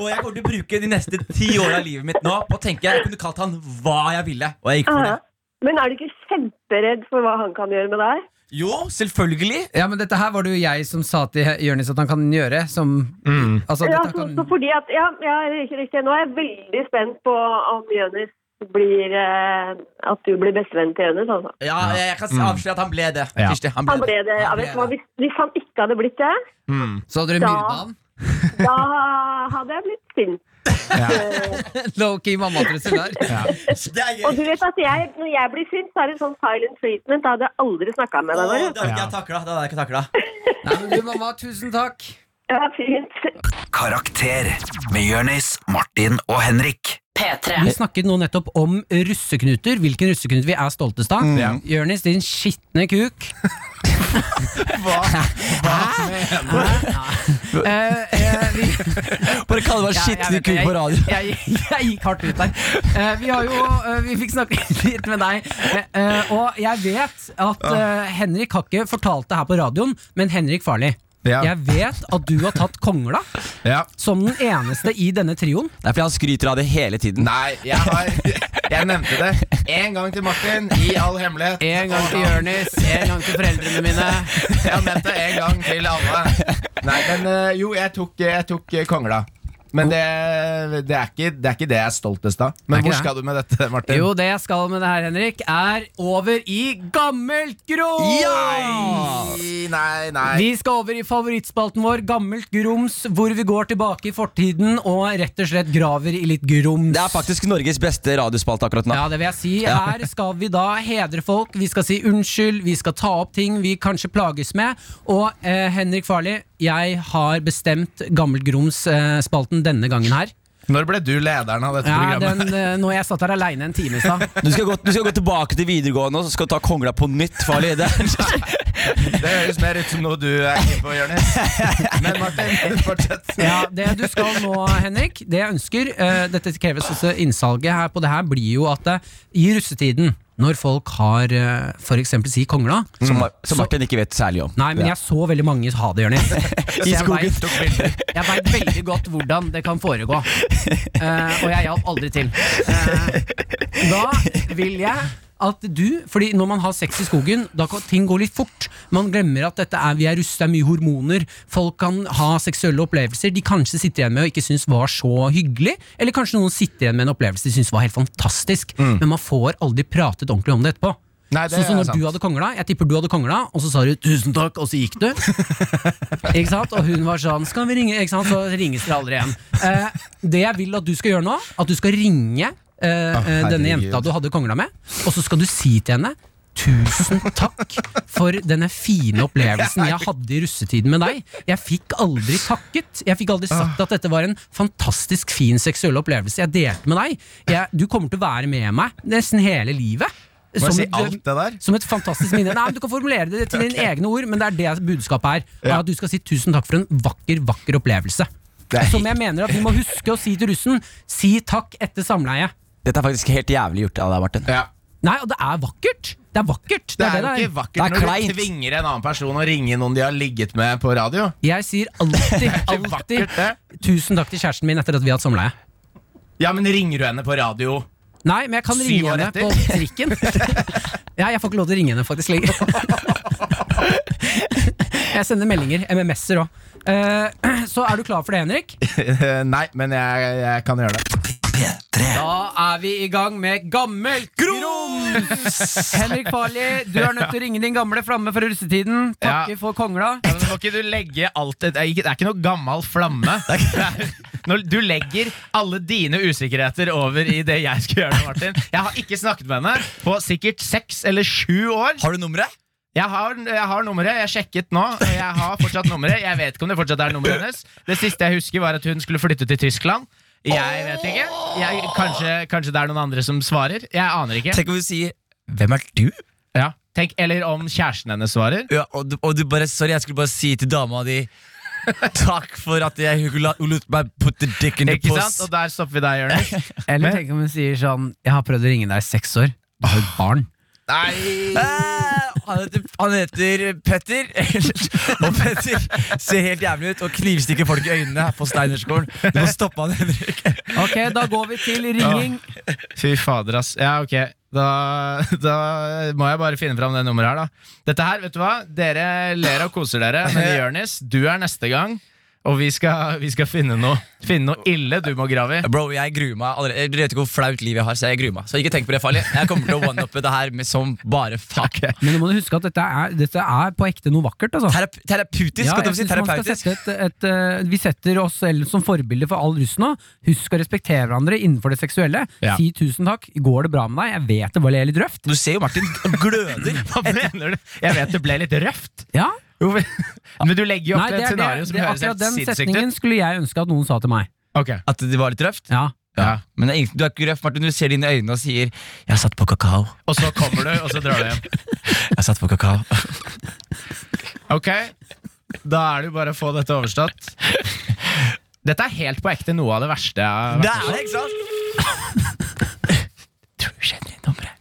S6: Og jeg kommer til å bruke de neste ti åra av livet mitt nå på å tenke jeg kunne kalt han hva jeg ville. Og jeg gikk for det.
S11: Men er du ikke kjemperedd for hva han kan gjøre med deg?
S6: Jo, selvfølgelig.
S12: Ja, men dette her var det jo jeg som sa til Jonis at han kan gjøre. Som,
S5: Mm.
S12: altså,
S11: Ja,
S12: dette
S11: så,
S12: kan,
S11: så fordi at, ja, ja, riktig, riktig. Nå er jeg veldig spent på om Jonis blir eh, At du blir bestevenn til Jonis, altså.
S6: Ja, jeg jeg kan si- avsløre at han ble det.
S5: Mm. Ja.
S6: Kirsti, han ble
S11: Han ble det, ja,
S6: Han
S11: vet du
S6: ble
S11: hva, hvis, hvis han ikke hadde blitt det,
S12: så hadde du
S11: Ja.
S12: myrda han?
S11: da hadde jeg blitt sint.
S12: Low-key mammatrussel der.
S6: det. Det er gøy.
S11: Og du vet at jeg, når jeg blir sint, så er det sånn silent treatment. Da hadde jeg aldri snakka med
S6: Å,
S11: deg.
S6: det
S11: Bare.
S6: hadde ikke jeg takla. Det hadde jeg ikke takla.
S12: Nei, men du, mamma, tusen takk.
S11: Ja, fint.
S3: Karakter med Jørnis, Martin og Henrik.
S13: P3.
S4: Vi snakket nå nettopp om russeknuter, hvilken russeknut vi er stoltest av.
S5: Ja.
S4: Jørnis, din skitne kuk. Hva? Eh, vi,
S6: Bare kall meg skitten ku på radio.
S4: jeg, jeg gikk hardt ut der. Eh, vi har jo eh, Vi fikk snakket litt med deg. Eh, eh, og jeg vet at eh, Henrik har ikke fortalt det her på radioen, men Henrik Farli.
S5: Ja.
S4: Jeg vet at du har tatt kongla
S5: Ja.
S4: som den eneste i denne trioen.
S6: Det er fordi han skryter av det hele tiden.
S5: Nei, jeg har Jeg nevnte det én gang til Martin, i all hemmelighet.
S4: En gang til Jørnis, en gang til foreldrene mine.
S5: Jeg har nevnt det én gang til alle. Nei, men eh, jo, jeg tok, jeg tok eh, kongla. Men det, det, er ikke, det er ikke det jeg er stoltest av. Men
S4: ikke
S5: hvor
S4: det.
S5: skal du med dette, Martin?
S4: Jo, det jeg skal med det her, Henrik, er over i Gammelt grums!
S5: Nei, nei, nei.
S4: Vi skal over i favorittspalten vår, Gammelt grums, hvor vi går tilbake i fortiden og rett og slett graver i litt grums.
S6: Det er faktisk Norges beste radiospalte akkurat nå.
S4: Ja, det vil jeg si. Her skal vi da hedre folk. Vi skal si unnskyld, vi skal ta opp ting vi kanskje plages med. Og eh, Henrik Farli, jeg har bestemt Gammelt grums-spalten denne gangen her.
S5: Når ble du lederen av dette
S4: Ja,
S5: programmet?
S4: den, eh, når jeg satt her aleine en time i stad.
S6: Du skal, gå, du skal gå tilbake til videregående og så skal du ta kongla på nytt. Farlig. Det er
S5: Det høres mer ut som noe du er keen på, Jonis. Men Martin, fortsett.
S4: Ja, Det du skal nå, Henrik, det jeg ønsker eh, Dette kreves også innsalget her på det her, blir jo at eh, i russetiden, når folk har eh, for eksempel si kongla
S6: Som, Mar- som Martin ikke vet særlig om.
S4: Nei, men jeg så veldig mange ha det, Jonis. Så jeg
S6: skogen.
S4: vet- Jeg veit veldig godt hvordan det kan foregå. Eh, og jeg hjalp aldri til. Eh, da vil jeg at du Fordi når man har sex i skogen, da kan ting gå litt fort. Man glemmer at dette er, vi er russet, det er mye hormoner. Folk kan ha seksuelle opplevelser de kanskje sitter igjen med og ikke syns var så hyggelig. Eller kanskje noen sitter igjen med en opplevelse de syns var helt fantastisk, men man får aldri pratet ordentlig om det etterpå.
S5: Mm. Nei, det
S4: Sånn som
S5: er
S4: når
S5: sant.
S4: du hadde kongla, jeg tipper du hadde kongla, og så sa du 'tusen takk', og så gikk du. ikke sant? Og hun var sånn 'skal vi ringe', ikke sant? så ringes dere aldri igjen. Eh, det jeg vil at du skal gjøre nå, at du skal ringe eh, eh, denne
S5: herregud.
S4: jenta du hadde kongla med, og så skal du si til henne Tusen takk for denne fine opplevelsen jeg hadde i russetiden med deg. Jeg fikk aldri takket. Jeg fikk aldri sagt at dette var en fantastisk fin seksuell opplevelse jeg delte med deg. Jeg, du kommer til å være med meg nesten hele livet.
S5: Må jeg si
S4: et-
S5: alt det der?
S4: som et fantastisk minne. Nei, men Du kan formulere det til dine egne ord, men det er det budskapet er. er At du skal si tusen takk for en vakker, vakker opplevelse. Som jeg mener at vi må huske å si til russen. Si takk etter samleie.
S6: Dette er faktisk helt jævlig gjort av deg, Martin.
S5: Ja.
S4: Nei, og det er vakkert. Det er vakkert.
S5: Det er jo
S4: det
S5: ikke
S6: Det er
S5: vakkert når
S6: kleint.
S5: du tvinger en annen person å ringe noen de har ligget med på radio.
S4: Jeg sier alltid,
S5: ikke vakkert, det.
S4: alltid tusen takk til kjæresten min etter at vi har hatt samleie.
S5: Ja, men ringer du henne på radio?
S4: Nei, men jeg kan
S5: Syv
S4: ringe
S5: år
S4: henne
S5: etter.
S4: på trikken. Ja, jeg får ikke lov til å ringe henne faktisk lenger. Jeg sender meldinger. MMS-er òg. Eh, Så er du klar for det, Henrik?
S5: Eh, Nei, men jeg, jeg kan gjøre det.
S4: Da er vi i gang med Gammelt grums! Henrik Farli, du er nødt til å ringe din gamle flamme fra russetiden. Takke
S5: Ja.
S4: for kongla.
S5: Ja, men må ikke du legge alt det, det, er ikke, det er ikke noe gammel flamme. Det er ikke- Når du legger alle dine usikkerheter over i det jeg skal gjøre nå, Martin. Jeg har ikke snakket med henne på sikkert seks eller sju år.
S6: Har du nummeret?
S5: Jeg har, jeg har nummeret. Jeg sjekket nå. Jeg har fortsatt nummeret. Jeg vet ikke om det fortsatt er nummeret hennes. Det siste jeg husker, var at hun skulle flytte til Tyskland. Jeg vet ikke. Jeg, kanskje, kanskje det er noen andre som svarer. Jeg aner ikke.
S6: Tenk om vi sier 'Hvem er du?'
S5: Ja. Tenk, eller om kjæresten hennes svarer.
S6: Ja, og, du, og du bare 'Sorry, jeg skulle bare si til dama di' 'Takk for at jeg hun la- hun lot meg put the dick in the
S5: Ikke
S6: puss'.
S5: sant? Og der stopper vi deg, Jonis.
S4: Eller tenk om hun sier sånn Jeg har prøvd å ringe deg i seks år. Du har jo barn.
S6: Eh, han, heter, han heter Petter. og Petter ser helt jævlig ut og knivstikker folk i øynene her på Steinerskolen. Du må stoppe han, Henrik.
S14: Ok, da går vi til ringing.
S5: Fy fader, ass. Ja, ok. Da, da må jeg bare finne fram det nummeret her, da. Dette her, vet du hva? Dere ler og koser dere, men Jonis, du er neste gang. Og vi skal, vi skal finne, noe, finne noe ille du må grave i.
S6: Bro, jeg gruer meg allerede. Du vet ikke hvor flaut liv jeg har, så jeg gruer meg. Så ikke tenk på det farlig. Jeg kommer til å one-uppe det her med som bare fuck.
S14: Men nå må du huske at dette er, dette er på ekte noe vakkert. Altså.
S6: Terap terapeutisk,
S14: Ja,
S6: skal
S14: jeg
S6: du si.
S14: synes man skal
S6: Terapeutisk.
S14: sette et, et, eh, vi setter oss selv som forbilder for all russ nå. Husk å respektere hverandre innenfor det seksuelle.
S5: Ja.
S14: Si tusen takk. Går det bra med deg? Jeg vet det var litt røft.
S6: Du ser jo Martin gløder.
S5: Hva mener du? Jeg vet det ble litt røft.
S14: Ja,
S5: Hvorfor- Men du legger jo opp
S14: Nei,
S5: til
S14: det
S5: et
S14: er det,
S5: scenario som
S14: det,
S5: høres
S14: akkurat
S5: helt
S14: den
S5: sinnssykt
S14: setningen
S5: ut.
S14: skulle jeg ønske at noen sa til meg.
S5: Ok.
S6: At det var litt røft?
S14: Ja.
S5: Ja.
S6: Men det er ingen- du er ikke røff, Martin. Du ser det inn i øynene og sier 'Jeg satt på kakao'.
S5: Og så kommer du, og så drar du hjem.
S6: Jeg satt på kakao.
S5: Ok, da er det jo bare å få dette overstått. Dette er helt på ekte noe av det verste jeg har
S6: Det
S5: vært.
S6: er det, ikke sant? Tror du kjenner nummeret?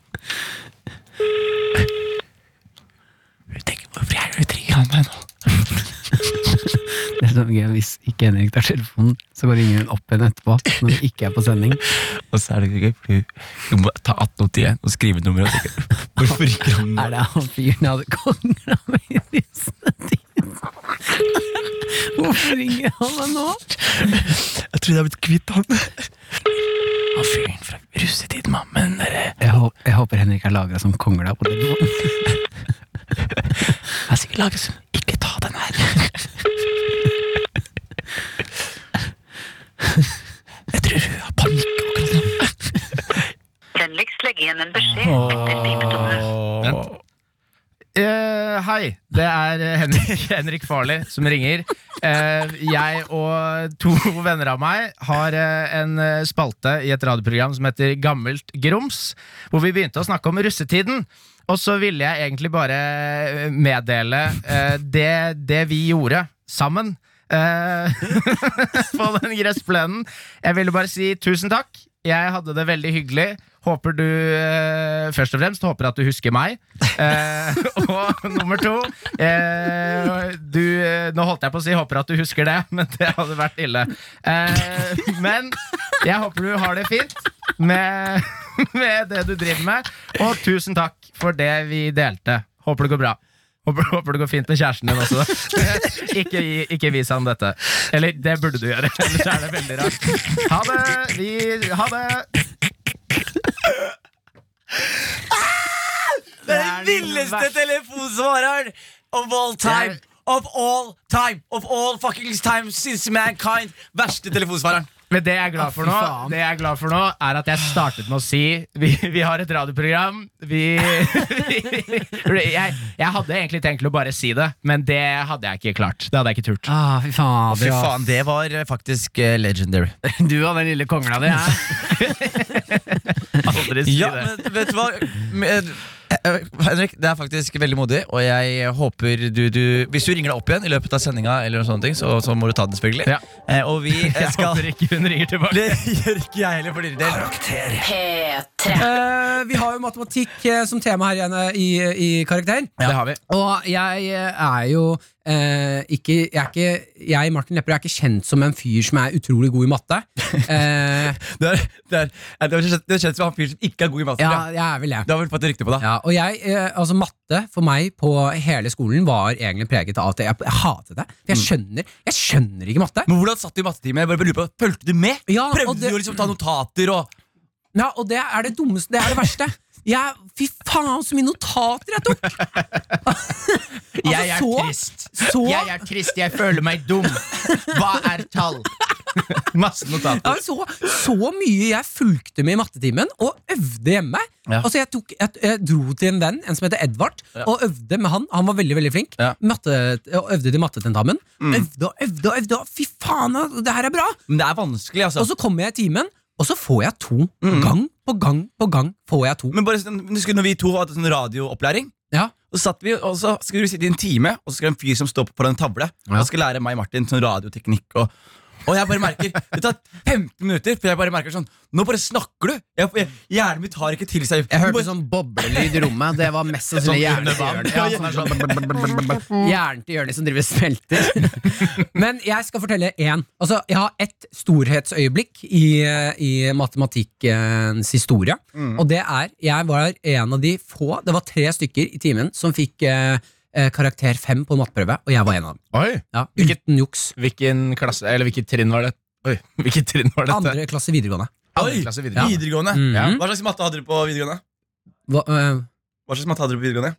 S6: Hun tenker 'Hvorfor er du trygg av meg nå?'
S14: Det er så gøy Hvis ikke Henrik tar telefonen, så går ingen opp igjen etterpå. Når vi ikke er på sending.
S6: Og så er det ikke gøy, for hun- hun må ta 1881 og skrive nummeret. og tenke, Hvorfor ringer han nå?
S14: Er det han fyren jeg hadde kongla med i disse tider? Hvorfor ringer han meg nå?
S6: Jeg trodde jeg hadde blitt kvitt han. Han fyren fra russetiden, mann. Men dere
S14: Jeg, hå- jeg håper Henrik er lagra som kongla på telefonen.
S6: er sikkert laget som Ikke ta den her. Jeg tror hun har panikk akkurat nå.
S15: Vennligst legg igjen en beskjed etter pipetonen.
S5: Vent. Eh, hei, det er eh, Henrik, Henrik Farley som ringer. Eh, jeg og to venner av meg har eh, en eh, spalte i et radioprogram som heter Gammelt grums, hvor vi begynte å snakke om russetiden. Og så ville jeg egentlig bare eh, meddele eh, det, det vi gjorde sammen eh, på den gressplenen. Jeg ville bare si tusen takk. Jeg hadde det veldig hyggelig. Håper du eh, Først og fremst håper at du husker meg. Eh, og nummer to eh, du, eh, Nå holdt jeg på å si 'håper at du husker det', men det hadde vært ille. Eh, men jeg håper du har det fint med, med det du driver med. Og tusen takk for det vi delte. Håper det går bra. Håper, håper det går fint med kjæresten din også. ikke, gi- ikke vis ham dette. Eller det burde du gjøre, ellers er det veldig rart. Ha det! Vi, ha det!
S6: Det er den villeste telefonsvareren of all time. Of all time. Of all fucking time since mankind. Verste telefonsvareren.
S5: Men det jeg er glad for nå, det jeg er glad for nå er at jeg startet med å si Vi, vi har et radioprogram. Vi, jeg, jeg hadde egentlig tenkt til å bare si det, men det hadde jeg ikke klart. Det hadde jeg ikke turt.
S14: Ah, fy fader,
S6: Fy
S14: ass.
S6: faen, det var eh, faktisk eh, legendary.
S14: Du og den lille kongla di. hæ?
S5: Aldri si
S6: Ja,
S5: det.
S6: men vet du hva? Men, eh, eh, Henrik, det er faktisk veldig modig, og jeg håper du, du Hvis du ringer deg opp igjen i løpet av sendinga, eller noen sånne ting, så, så må du ta den, selvfølgelig.
S5: Ja.
S6: Eh, og vi eh,
S5: Jeg
S6: skal
S5: håper ikke Ah, hun ringer tilbake.
S6: Det gjør ikke jeg heller, for din del.
S15: P3.
S4: Eh, vi har jo matematikk eh, som tema her igjen eh, i, i Karakter.
S5: Det har vi.
S4: Og jeg eh, er jo eh, ikke, jeg, er ikke, jeg, Martin Lepperød, er ikke kjent som en fyr som er utrolig god i matte. Eh,
S6: Det er, det er, eh, det er kjent- det er kjent som han fyren som ikke er god i maten.
S4: ja,
S6: Ja.
S4: jeg er vel det.
S6: Du har vel fått et rykte på deg?
S4: Ja, og jeg, eh, altså Matte for meg på hele skolen var egentlig preget av at jeg, jeg hatet det.
S5: Mm.
S4: For jeg skjønner, jeg skjønner ikke matte.
S6: Men hvordan satt du i mattetime? Jeg bare lurer på, Fulgte du med?
S4: Ja, og
S6: Prøvde
S4: det-
S6: du å liksom ta notater og
S4: Ja, og det er det dummeste. Det er det verste. Jeg, fy faen, så mye notater jeg tok! altså,
S5: Jeg er
S4: så,
S5: trist.
S4: Så,
S5: Jeg er trist, jeg føler meg dum. Hva er tall? Masse
S4: ja,
S5: notater.
S4: så, altså, så mye jeg fulgte med i mattetimen og øvde hjemme. Altså jeg, tok, jeg, jeg dro til en venn En som heter Edvard, og øvde med han. Han var veldig veldig flink.
S6: Ja.
S4: Matte, og øvde til mattetentamen.
S5: Mm.
S4: Øvde og øvde og øvde. og Fy faen, altså, det her er bra!
S6: Men det er vanskelig, altså.
S4: Og så kommer jeg i timen, og så får jeg to.
S5: Mm.
S4: Gang på gang på gang får jeg to.
S6: Men bare sånn, husker du når vi to hadde sånn radioopplæring?
S4: Ja.
S6: Og så satt vi, og så skulle vi sitte i en time, og så skulle det en fyr som står på en tavle, og han skulle lære meg og Martin sånn radioteknikk og
S7: Og jeg bare merker Det tar 15 minutter før jeg bare merker sånn Nå bare snakker du! Jeg, jeg, hjernen min tar ikke til seg
S14: Jeg hørte sånn boblelyd i rommet. Det var mest sannsynlig hjernen til Jonis. Ja, sånn, sånn, hjernen til Jonis som driver og smelter.
S4: Men jeg skal fortelle én. Altså, jeg har ett storhetsøyeblikk i, i matematikkens historie. Mm. Og det er Jeg var en av de få, det var tre stykker i timen, som fikk eh, karakter fem på en matteprøve, og jeg var en av dem.
S5: Oi.
S4: Ja, uten juks.
S5: Hvilken klasse, eller hvilket trinn var det? Oi, hvilket trinn var dette?
S4: Andre klasse videregående.
S5: Andre klasse videregående.
S7: Videregående.
S4: Mhm.
S7: Hva slags matte hadde du på videregående?
S4: Hva, øh,
S7: Hva slags matte hadde du på videregående?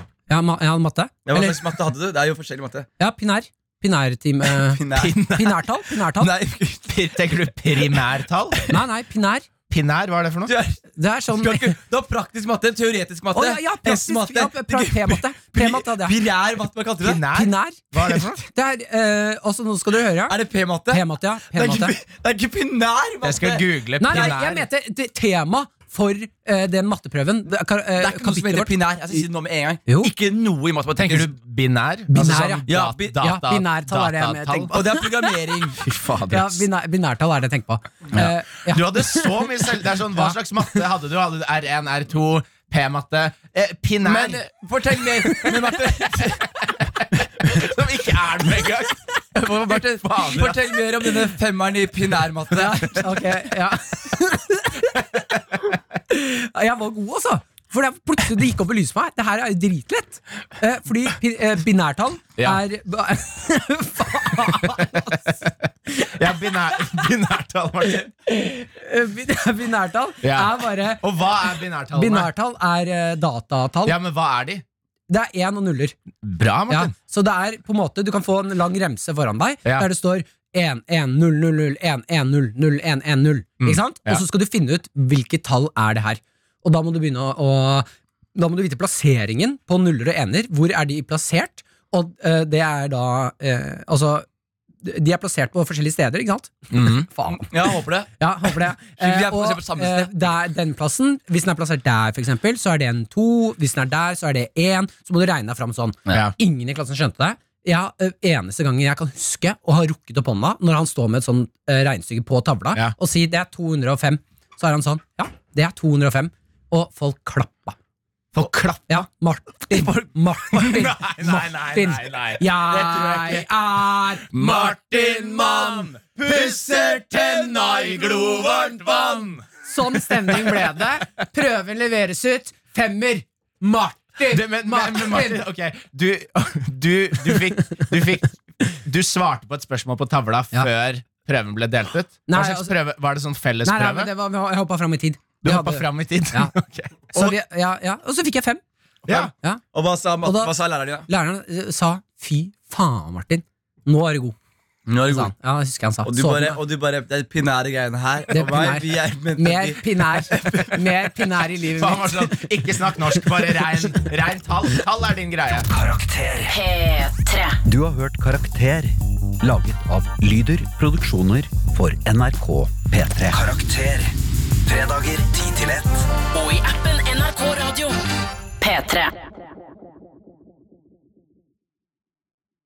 S4: jeg, har ma jeg hadde matte.
S7: Ja, hva
S4: Eller,
S7: slags matte hadde du? Det er jo forskjellig matte.
S4: ja, pinær. Pinærtime. øh,
S7: Pinær.
S4: Pinærtall? Pinærtall?
S7: Nei,
S5: Tenker du primærtall?
S4: Nei, nei, pinær.
S5: Pinær, hva er det for noe?
S7: du er,
S4: Det er sånn
S7: du, har ikke, du har praktisk matte, teoretisk matte,
S4: Å ja, ja, praktisk,
S7: S-matte,
S4: ja, pra- P-matte. P-matte hadde jeg.
S7: Pirær matte, hva kalte du det?
S5: Pinær?
S4: Pinær.
S5: Hva er det for noe?
S4: Det er øh, Også nå skal dere høre.
S7: Er det P-matte?
S4: P-matte, ja.
S7: Det er
S4: P-matte.
S7: ikke, det er ikke pinær matte!
S5: Jeg skal google
S4: Nei, nei,
S5: pinær.
S4: jeg mente det, tema for øh, den matteprøven. Det, er kar- øh,
S7: det er ikke noe som
S4: kapitlet
S7: heter
S4: vårt.
S7: pinær. Jeg skal si det nå med en gang.
S4: Jo.
S7: Ikke noe i matematikk.
S5: Tenker du binær?
S4: Binær, ja.
S7: Ja,
S5: dat-
S7: bi- ja,
S5: Altså, sånn data,
S4: binærtall er det jeg
S5: datatall.
S4: tenker på.
S7: Og det er programmering.
S5: Fy fader.
S4: Ja,
S5: ass.
S4: binær, binærtall er det jeg tenker på. Eh, ja.
S5: Du hadde så mye selv... Det er sånn, Hva
S4: Ja.
S5: slags matte hadde du? Hadde du R1, R2, P-matte? Eh, pinær?
S7: Men eh, fortell mer om matte.
S5: som ikke er det engang! Hva- hva- fader, ass.
S7: Fortell mer om denne femmeren i pinærmatte.
S4: Ok, ja Jeg var god altså For det er plutselig det gikk opp i lyset på meg Det her er jo dritlett eh, Fordi pi- eh, binærtall
S5: Ja.
S4: er Faen ass.
S5: Ja, binær, binærtall, Martin.
S4: Eh, bin- Binærtall
S5: Ja.
S4: er bare
S5: Og hva er binærtallene?
S4: Binærtall er eh, datatall
S5: Ja, men hva er de?
S4: Det er en og nuller
S5: Bra,
S4: ja.
S5: Martin.
S4: Så det er på en måte Du kan få en lang remse foran deg
S5: Ja.
S4: Der det står 1, 1, 0, 0, 0, 1, 1, 0, 0, 1, 1, 0 Ikke sant?
S5: Mm. ja.
S4: Og så skal du finne ut hvilket tall er det her Og da må du begynne å, å Da må du vite plasseringen på nuller og ener Hvor er de plassert Og eh, det er da eh, Altså de er plassert på forskjellige steder, ikke sant?
S5: Mhm.
S4: Faen
S7: Ja, jeg håper det.
S4: ja, håper det.
S7: Vi er på-
S4: og,
S7: se på samme sted.
S4: eh, der, den plassen, hvis den er plassert der, for eksempel, så er det en to. Hvis den er der, så er det én. Så må du regne deg fram sånn.
S5: Ja.
S4: Ingen i klassen skjønte det. Ja, eh, eneste gangen jeg kan huske å ha rukket opp hånda, når han står med et sånt eh, regnestykke på tavla,
S5: Ja.
S4: og sier det er 205, så er han sånn Ja, det er 205. Og folk klappa.
S5: Få klapp.
S4: Ja, Martin. Martin.
S5: nei, nei, nei, nei.
S4: Jeg er
S5: Martin Mann pusser tenna i glovarmt vann.
S14: Sånn stemning ble det. Prøven leveres ut. Femmer. Martin!
S5: Det, men, men, men Martin, ok du, du, du, fikk, du fikk Du svarte på et spørsmål på tavla
S4: Ja.
S5: før prøven ble delt ut?
S4: Nei,
S5: Hva slags
S4: altså-
S5: prøve? Var det sånn
S4: Nei, nei,
S5: fellesprøve?
S4: men det var, jeg hoppa fram i tid.
S5: Du
S4: Vi
S5: hoppa
S4: hadde-
S5: fram i tid?
S4: Ja.
S5: Ok.
S4: Så vi, ja, ja. Og så fikk jeg fem.
S5: Ja.
S4: Ja.
S7: Og hva sa,
S4: Og da-
S7: hva sa læreren din? da?
S4: Læreren eh, sa 'fy faen, Martin, nå er du god'. Sa han. Ja, jeg husker han sa. sånn.
S7: Og du
S4: Så
S7: bare,
S4: den,
S7: og du bare Det er pinære greiene her.
S4: Det er
S7: Og meg,
S4: pinær.
S7: vi er, men,
S4: mer
S7: vi,
S4: pinær Mer pinær i livet
S5: Faen, var
S4: mitt.
S5: sånn, ikke snakk norsk, bare rein, rein tall. Tall er din greie.
S15: P3.
S3: Du har hørt Karakter, laget av Lyder Produksjoner for NRK P3. Karakter. Fredager 10 til 1.
S16: Og i appen NRK Radio. P3.